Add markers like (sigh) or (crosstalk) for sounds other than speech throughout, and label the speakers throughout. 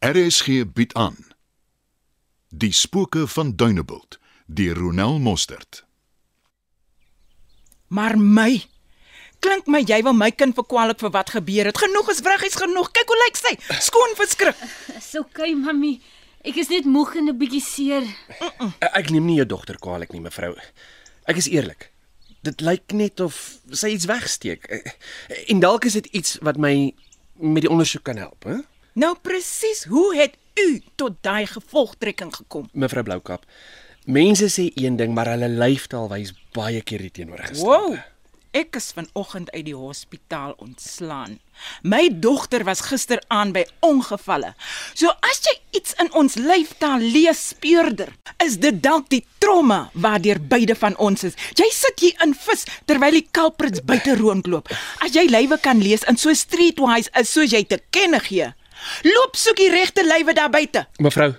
Speaker 1: RSG bied aan Die spooke van Dunebuld deur Ronel Mostert.
Speaker 2: Maar my klink my jy wil my kind verkwalik vir wat gebeur het. Genoeg is wriggies genoeg. Kyk hoe lyk sy. Skoon verskrik.
Speaker 3: Dis okay, mami. Ek is net moeg en 'n bietjie seer.
Speaker 4: Eh, Ek neem nie jou dogter kwaadlik nie, mevrou. Ek is eerlik. Dit lyk net of sy iets wegsteek. Eh, En dalk is dit iets wat my met die ondersoek kan help, hè?
Speaker 2: Nou presies, hoe het u tot daai gevolgtrekking gekom?
Speaker 4: Mevrou Bloukap. Mense sê een ding, maar hulle lyfstaal wys baie keer die
Speaker 2: Wow.
Speaker 4: teenoorgestelde.
Speaker 2: Ek is vanoggend uit die hospitaal ontslaan. My dogter was gisteraand by ongevalle. So as jy iets in ons lyftaal lees speurder, is dit dalk die trauma waardeur beide van ons is. Jy sit hier in vis terwyl die culprits buite rondloop. As jy lywe kan lees in so streetwise is soos jy te kenne gee. Loop soek die regte lywe daar buite.
Speaker 4: Mevrou,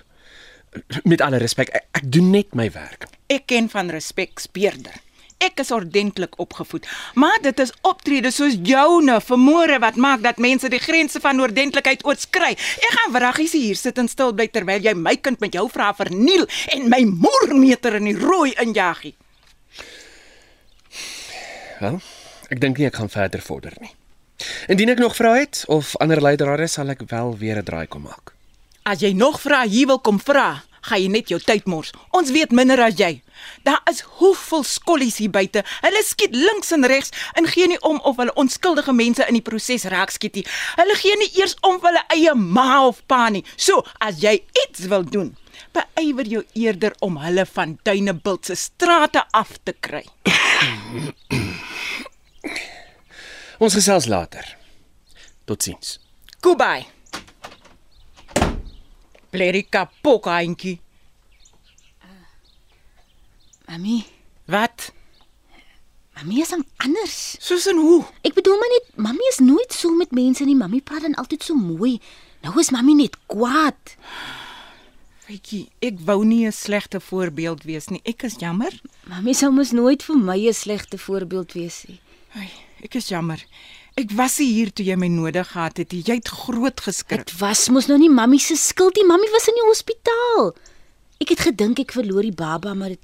Speaker 4: met alle respek, ek, ek doen net my werk.
Speaker 2: Ek ken van respek speerder. Ek is ordentlik opgevoed, maar dit is optrede soos joune vermoere wat maak dat mense die grense van ordentlikheid oorskry. Ek gaan wraggies hier sit en stil bly terwyl jy my kind met jou vrae verniel en my moermeter in die rooi injaggie.
Speaker 4: Wel, ek dink nie ek gaan verder vorder nie. Indien ek nog vrae het of ander leidrade sal ek wel weer 'n draai kom maak.
Speaker 2: As jy nog vra hier wil kom vra, gaan jy net jou tyd mors. Ons weet minder as jy. Daar is hoeveel skollies hier buite. Hulle skiet links en regs en gee nie om of hulle onskuldige mense in die proses raakskiet nie. Hulle gee nie eers om vir hulle eie ma of pa nie. So, as jy iets wil doen, beywer jou eerder om hulle van Dunebuld se strate af te kry.
Speaker 4: Ons gesels later. Totsiens.
Speaker 2: Goodbye. Blerry kapok, eintjie.
Speaker 3: Mami,
Speaker 2: Wat?
Speaker 3: mami is aan anders.
Speaker 2: Susan hoe?
Speaker 3: Ek bedoel maar net, mami is nooit so met mense nie. Mami praat dan altyd so mooi. Nou is mami net kwaad.
Speaker 2: Kykie, ek wou nie 'n slegte voorbeeld wees nie. Ek is jammer.
Speaker 3: Mami sou mos nooit vir my 'n slegte voorbeeld wees nie.
Speaker 2: Ai, ek is jammer. Ek was nie hier toe jy my nodig gehad het nie. Jy het groot geskrik.
Speaker 3: Dit was mos nou nie mami se skuld nie. Mami was in die hospitaal. Ek het gedink ek verloor die baba, maar dit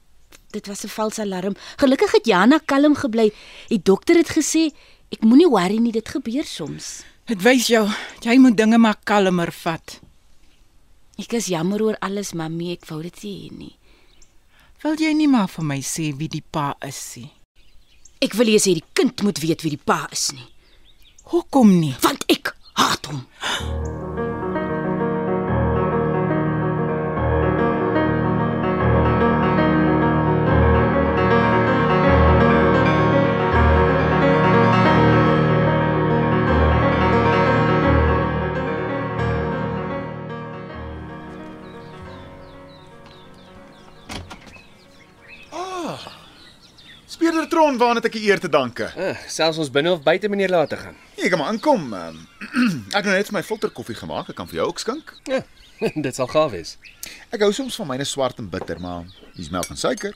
Speaker 3: dit was 'n valse alarm. Gelukkig het Jana kalm gebly. Die dokter het gesê ek moenie worry nie, dit gebeur soms.
Speaker 2: Dit wys jou jy moet dinge maar kalmer vat.
Speaker 3: Ek is jammer oor alles, mami. Ek wou dit nie hê nie.
Speaker 2: Wil jy nie maar vir my sê wie die pa is nie?
Speaker 3: Ek wil eers hê die kind moet weet wie die pa is nie,
Speaker 2: Hoekom nie?
Speaker 3: want ek haat hom.
Speaker 5: Speurdertron waaraan het ek die eer te danke.
Speaker 4: Uh, selfs ons binne of buite meneer later gaan.
Speaker 5: Ek gaan maar inkom. ehm, (clears throat) ek het nou net vir my filter koffie gemaak. Ek kan vir jou ook skink.
Speaker 4: Ja, (laughs) dit sal gaaf wees.
Speaker 5: Ek hou soms van myne swart en bitter, maar hier's melk en suiker.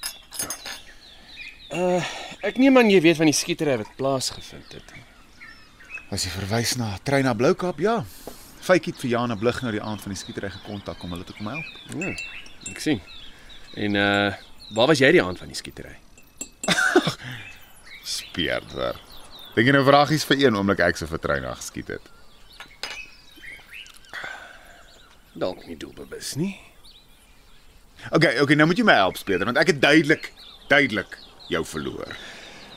Speaker 4: Ek neem aan jy weet van die skietery wat plaasgevind het.
Speaker 5: As jy verwys na Trein na Bloukap, ja. Faitjie het vir Jana Blug nou die aand van die skietery gekontak om hulle te kom help.
Speaker 4: Ja, ek sien. En uh waar was jy die aand van die skietery?
Speaker 5: Speurder. Dink jy nou vragies vir een oomblik ek se vir Trein na geskiet het?
Speaker 4: Dalk nie doelbewus nie.
Speaker 5: Okay, okay, nou moet jy my help, Speurder, want ek het duidelik, duidelik jou verloor.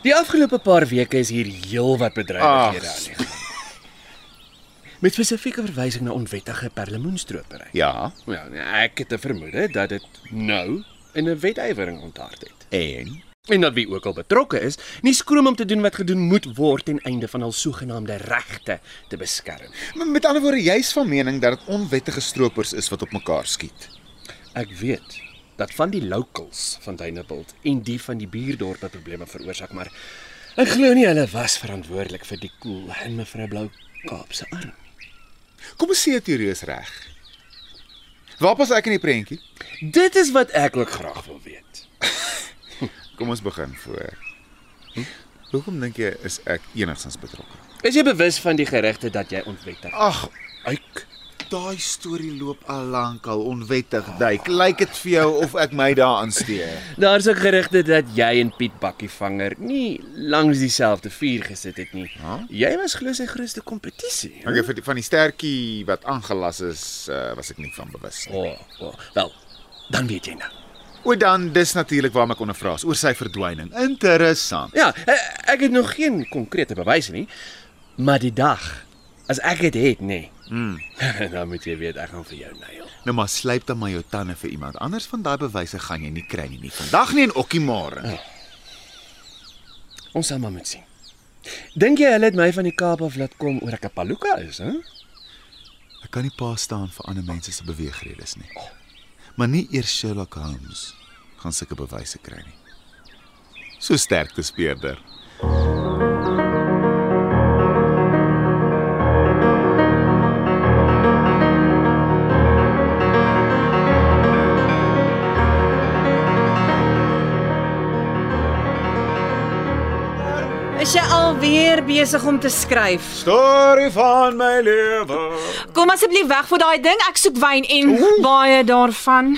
Speaker 4: Die afgelope paar weke is hier heelwat bedrywighede
Speaker 5: Ag.
Speaker 4: aan die gang. (laughs) Met spesifieke verwysing na onwettige perlemoenstropery.
Speaker 5: Ja,
Speaker 4: Ja, ek het 'n vermoede dat dit nou in 'n wetywering ontaard het.
Speaker 5: en
Speaker 4: En dat wie ook al betrokke is, nie skroom om te doen wat gedoen moet word ten einde van hul sogenaamde regte te beskerm.
Speaker 5: Maar met ander woorde, jy's van mening dat dit onwettige stroopers is wat op mekaar skiet.
Speaker 4: Ek weet dat van die locals van Dunebuld en die van die buurdorpe probleme veroorsaak, maar ek glo nie hulle was verantwoordelik vir die koel in mevrou Blou Kaap se arm.
Speaker 5: Kom ons sê jou teorie is reg. Waar pas ek in die prentjie?
Speaker 4: Dit is wat ek ook graag wil weet.
Speaker 5: Kom ons begin voor. Hm? Hoekom dink jy is ek enigstens betrokke?
Speaker 4: Is jy bewus van die gerugte dat jy onwettig
Speaker 5: Ag,
Speaker 4: uik
Speaker 5: Daai storie loop al lank al onwettig duik. Lyk dit vir jou of ek my daaraan steur?
Speaker 4: Daar's ook gerugte dat jy en Piet Bakkievanger nie langs dieselfde vuur gesit het nie.
Speaker 5: Huh?
Speaker 4: Jy was glo sy grootste kompetisie.
Speaker 5: Okay, vir die, van die stertjie wat aangelas is, uh, was ek nie van bewus nie.
Speaker 4: O, oh, oh, wel, dan weet jy nou.
Speaker 5: O dan, dis natuurlik waarom ek ondervraas oor sy verdwyning. Interessant.
Speaker 4: Ja, eh, ek het nog geen konkrete bewyse nie, maar die dag as ek dit het, nê. (laughs) Mm. dan moet jy weet ek gaan vir jou nail.
Speaker 5: Nou maar slyp dan maar jou tande vir iemand anders van daai bewyse gaan jy nie kry nie, nie vandag nie en okkie môre.
Speaker 4: Ons sal maar moet sien. Dink jy hulle het my van die Kaap af laat kom oor ek 'n paluka is, hè?
Speaker 5: Ek kan nie pa staan vir ander mense se beweegredes nie. Maar nie eers Sherlock Holmes gaan sulke bewyse kry nie. So sterk te speerder.
Speaker 6: Is jy alweer besig om te skryf?
Speaker 5: Storie van my lewe.
Speaker 6: Kom asseblief weg van daai ding. Ek soek wyn en baie daarvan.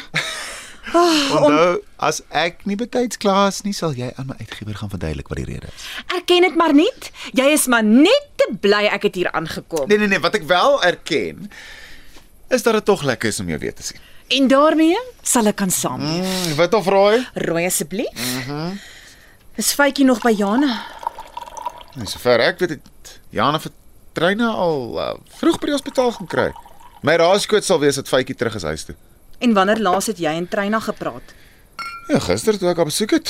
Speaker 5: Onthou, nou, as ek nie betyds klaar is nie, sal jy aan my uitgewer gaan verduidelik wat die rede is.
Speaker 6: Erken dit maar net. Jy is maar net te bly ek het hier aangekom.
Speaker 5: Nee nee nee, wat ek wel erken is dat dit tog lekker is om jou weer te sien.
Speaker 6: En daarmee sal ek kan saam.
Speaker 5: Mm, wit of rooi?
Speaker 6: Rooi asseblief. Mhm. Is Faitjie nog by Jana?
Speaker 5: Nee, sover ek weet het Jana vir Treina al uh, vroeg by die hospitaal gaan kry. My raaiskoot sal wees dat Faitjie terug is huis toe.
Speaker 6: En wanneer laas het jy en Treyna gepraat?
Speaker 5: Ja, gister toe ek haar besoek het,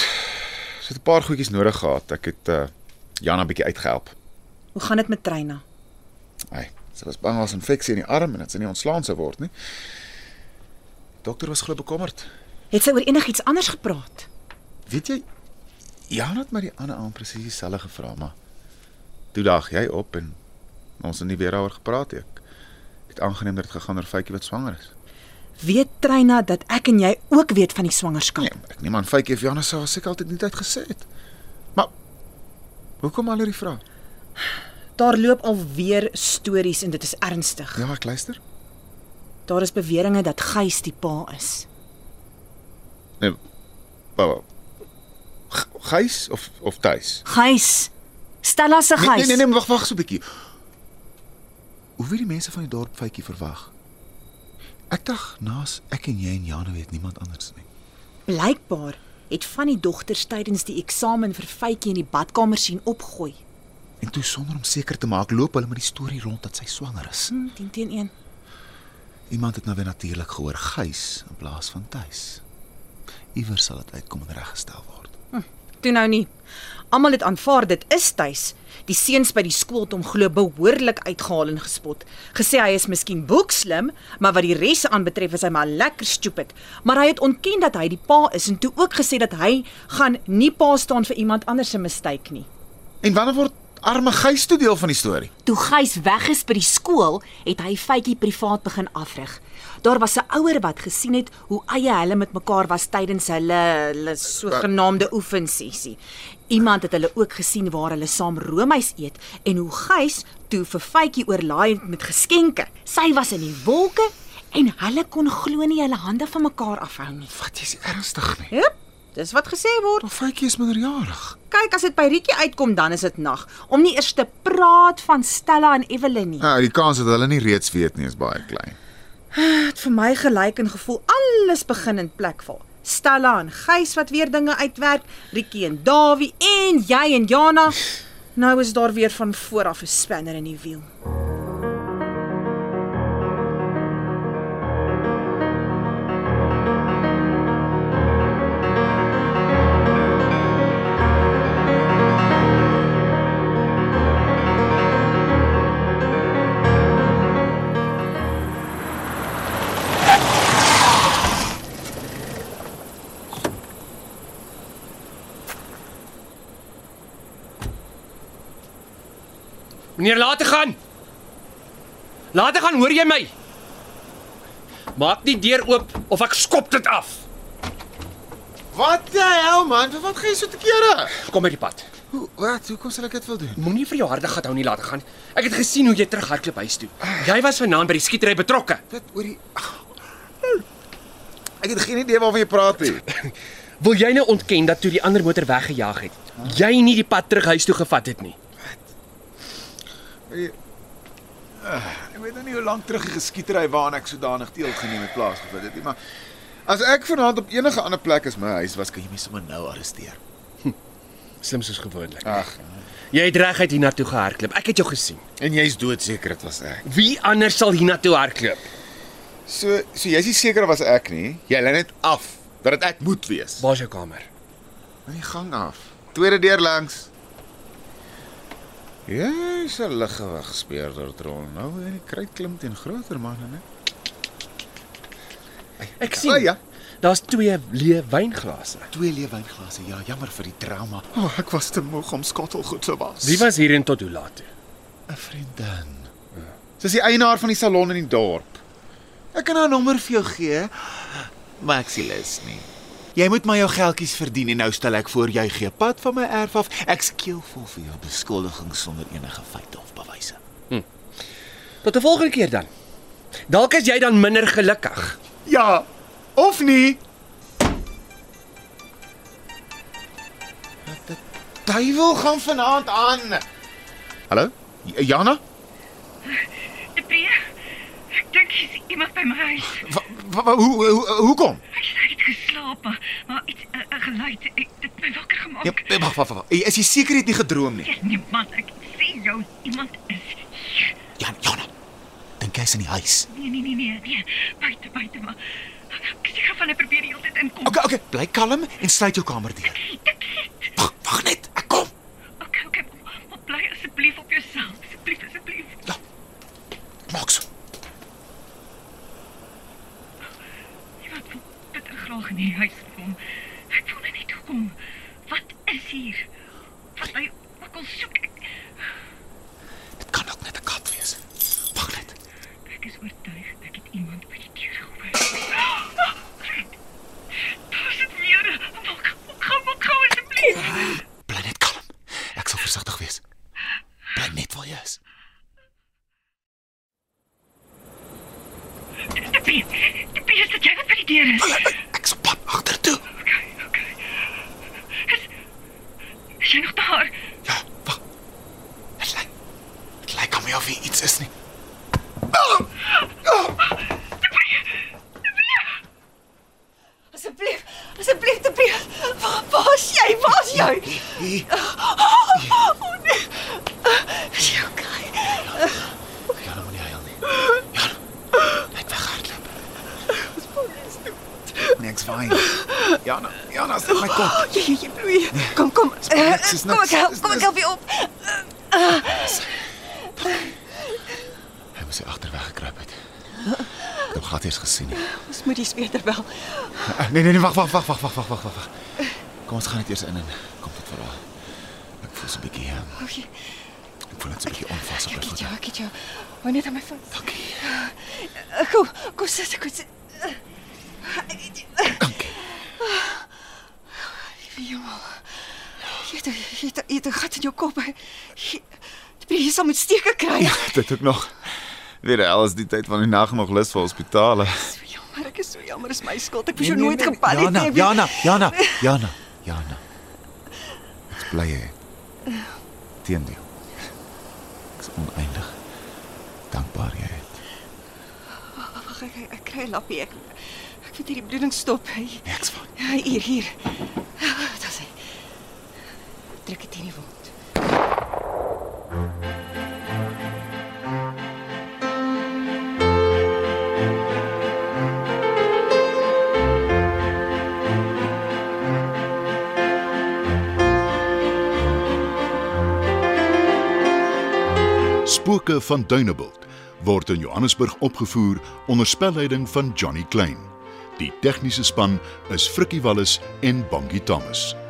Speaker 5: sy het 'n paar goedjies nodig gehad. Ek het uh, Jana bietjie uitgehelp.
Speaker 6: Hoe gaan dit met Treyna?
Speaker 5: Hy, sy was bang as 'n infeksie in die arm en dat sy nie ontslaan sou word nie. Dokter was glo bekommerd.
Speaker 6: Het sy oor enigiets anders gepraat?
Speaker 5: Weet jy, Jana het my die ander aand presies dieselfde gevra, maar toe daag jy op en ons het nie weer daaroor gepraat nie. Ek het aangeneem dat dit gegaan oor Faitjie wat swanger is.
Speaker 6: Weet Treyna dat ek en jy ook weet van die swangerskap?
Speaker 5: Nee, ek neem aan Faitjie of Jana sou haar seker altyd nie tyd gesê het. Maar hoekom al hierdie vrae? Nee.
Speaker 6: Daar loop alweer stories en dit is ernstig.
Speaker 5: Ja, ek luister.
Speaker 6: Daar is beweringe dat Gys die pa is.
Speaker 5: Nee. Wou. Gys of of Tuis?
Speaker 6: Gys. Stella se
Speaker 5: Nee
Speaker 6: Gys.
Speaker 5: nee nee, nee wag wag so 'n bietjie. Hoe weet die mense van die dorp vytjie verwag? Ek dacht naas ek en jy en Jana weet niemand anders nie.
Speaker 6: Blykbaar het van die dogters tydens die eksamen vir Faitjie in die badkamer sien opgooi.
Speaker 5: En toe sonder om seker te maak, loop hulle met die storie rond dat sy swanger is.
Speaker 6: 10 Hm, teen 1.
Speaker 5: Iemand het nou weer natuurlik gehoor Gys in plaas van Tuis. Iewers sal dit uitkom en reggestel word.
Speaker 6: Toe nou nie. Almal het aanvaar dit is tuis. Die seuns by die skool het hom glo behoorlik uitgehaal en gespot. Gesê hy is miskien boekslim, maar wat die res aanbetref is hy maar lekker stupid. Maar hy het ontken dat hy die pa is en toe ook gesê dat hy gaan nie pa staan vir iemand anders se mistake nie.
Speaker 5: En wanneer word arme Gys toe deel van die storie?
Speaker 3: Toe Gys weg is by die skool, het hy Faitjie privaat begin afrig. Daar was 'n ouer wat gesien het hoe eie hulle met mekaar was tydens hulle hulle sogenaamde oefensessie. Iemand het hulle ook gesien waar hulle saam roomys eet en hoe Gys toe vir Faitjie oorlaai het met geskenke. Sy was in die wolke en hulle kon glo nie hulle hande van mekaar afhou nie.
Speaker 5: Wat is ernstig nie?
Speaker 6: Hup, dis wat gesê word.
Speaker 5: Maar Faitjie is minderjarig.
Speaker 6: Kyk, as dit by Rietjie uitkom dan is dit nag. Om nie eers te praat van Stella en Evelyn nie.
Speaker 5: Nou, die kans dat hulle nie reeds weet nie is baie klein.
Speaker 6: Dit vir my gelyk en gevoel alles begin in plek val. Stella en Gys wat weer dinge uitwerk, Rietjie en Dawie en jy en Jana. Nou is daar weer van vooraf 'n spanner in die wiel.
Speaker 4: Meneer, laat dit gaan. Laat dit gaan, hoor jy my? Maak die deur oop of ek skop dit af.
Speaker 5: Wat die hel man, vir wat gaan jy so te kere?
Speaker 4: Kom met die pad.
Speaker 5: Hoe wat? Hoekom sal ek dit wil doen?
Speaker 4: Moenie vir jou harde gat hou nie laat gaan. Ek het gesien hoe jy terughardloop huis toe. Jy was vanaand by die skietery betrokke.
Speaker 5: Wat oor die Ag. Ek het geen idee waarvan jy praat nie.
Speaker 4: Wil jy nou ontken dat toe die ander motor weggejaag het, jy nie die pad terug huis toe gevat het nie?
Speaker 5: Ek weet nou nie hoe lank terug die geskietery waaraan ek sodanig deelgeneem het plaasgevind het nie, maar as ek vanaand op enige ander plek as my huis was, kan jy my sommer nou arresteer.
Speaker 4: Slim soos gewoonlik.
Speaker 5: Ag,
Speaker 4: Jy het reguit hiernatoe gehardloop. Ek het jou gesien.
Speaker 5: en jy's doodseker dit was ek.
Speaker 4: Wie anders sal hiernatoe hardloop?
Speaker 5: So, so jy's nie seker dit was ek nie. Jy lê net af dat dit ek moet wees.
Speaker 4: Waar's jou kamer?
Speaker 5: In die gang af. Tweede deur langs. Jy's 'n liggewig speurder trol. Nou in die kruit klim teen groter manne, né?
Speaker 4: Ek
Speaker 5: O
Speaker 4: sien.
Speaker 5: ja,
Speaker 4: Daar's twee leë wynglase.
Speaker 5: twee leewynglase. Ja, jammer vir die trauma. O, oh, ek was te moeg om skottelgoed te was.
Speaker 4: Wie was hierheen tot hoe laat toe?
Speaker 5: 'n vriendin. Sy's Eh. die eienaar van die salon in die dorp.
Speaker 7: Ek kan haar nommer vir jou gee, maar ek sien lus nie. Jy moet maar jou geldjies verdien en nou stel ek voor jy gee pad van my erf af. Ek skeel vol vir jou beskuldigings sonder enige feite of bewyse.
Speaker 4: Tot 'n volgende keer dan. Dalk is jy dan minder gelukkig.
Speaker 5: Ja, of nie? Wat die duiwel gaan vanaand aan? Hallo? J- Jana?
Speaker 8: Pie, ek dink jy's iemand by my huis.
Speaker 5: Wa- wa- wa- Hoe hoe hoekom?
Speaker 8: Ek sê ek het geslaap, maar- maar iets 'n uh, geluid het het my wakker gemaak.
Speaker 5: Ja,
Speaker 8: Yep.
Speaker 5: wag, wag, wag. Is jy seker jy het nie gedroom nie?
Speaker 8: Dis niemand. Ek sê jou iemand is hier.
Speaker 7: Jan, Jana. Dink jy's in die huis?
Speaker 8: Nee, nee, nee, nee, nee. Buite, buite maar. Ek sê gaan hy probeer die hele tyd inkom.
Speaker 7: OK, OK, bly kalm en sluit jou kamer deur.
Speaker 8: Ek sê,
Speaker 7: Wag, wag net. Ek kom.
Speaker 8: okay, okay, maar, maar bly asseblief op jouself. Asseblief, asseblief.
Speaker 7: Maak so.
Speaker 8: Iemand wil bitter graag in die huis kom. Ek wil net nie toekom. Wat is hier? Wat hy ook al soek. Ek,
Speaker 7: Dit kan ook net 'n kat wees. Wag net.
Speaker 8: Ek is oortuig ek het iemand by die deur gehoor. Fred, Daar sit meer. Maak, maak, maak gou asseblief.
Speaker 7: Bly net kalm. Ek sal versigtig wees. Bly net waar jy is.
Speaker 8: Tipie, tipie is dit jy wat by die deur is.
Speaker 7: Ek sal pad agtertoe.
Speaker 8: Okay, okay. Is, is jy nog daar?
Speaker 7: Ja, wag. Dit lyk. Dit lyk om jou wie iets is nie.
Speaker 9: Asseblief, asseblief te Piet. Waar waar's jy? Waar's jy? Oh nee. Is jy okay?
Speaker 7: Jana moenie huil nie. Jana. Net weghardloop.
Speaker 5: Niks fyn. Jana, Jana, sit my kop.
Speaker 9: Jy jy jy bloei. Kom kom. Eh,
Speaker 5: niks, is
Speaker 9: Kom
Speaker 5: niks,
Speaker 9: ek help,
Speaker 5: is
Speaker 9: kom
Speaker 5: niks.
Speaker 9: ek help jou op.
Speaker 7: Hy moes hier agter weggekruip het. Ek het hom glad eers gesien nie.
Speaker 9: Ons moet die speter bel.
Speaker 5: Eh, Nee nee nee, wag, wag, wag, wag, wag, wag, wag, wag. Kom ons gaan net eers in en eh, kom tot verhaal. Ek voel so 'n bietjie. ehm,
Speaker 9: O, jy-
Speaker 5: Ek voel net so 'n bietjie onvas op my
Speaker 9: Ek het
Speaker 5: voete.
Speaker 9: jou, Ja, ek het jou. Hou net aan my vas.
Speaker 5: Dankie.
Speaker 9: Eh, Kom, kom sit, kom sit. Eh, ek het jou-
Speaker 5: Dankie.
Speaker 9: Liewe Hemel. Jy het jy het jy het 'n gat in jou kop. Jy- Die Piet sal moet steke kry.
Speaker 5: Dit het nog Weer al is die tyd van die nag nog lus vir hospitale.
Speaker 9: So jammer, ek is so jammer, is my skuld. Ek moes jou nooit gepan het nie.
Speaker 7: Jana, Jana, Jana.
Speaker 5: Jana. Ek's bly jy. Teendeel.
Speaker 7: Ek's oneindig dankbaar jy het.
Speaker 9: Wag, ek, ek kry 'n lappie. Ek ek moet hierdie bloeding stop. Hy-
Speaker 7: Niks van.
Speaker 9: Ja, hier, hier. Э, Dit sê. Druk dit in die wond.
Speaker 1: Spooke van Dunebuld word in Johannesburg opgevoer onder spelleiding van Johnny Klein. Die tegniese span is Frikkie Wallis en Bongie Thomas.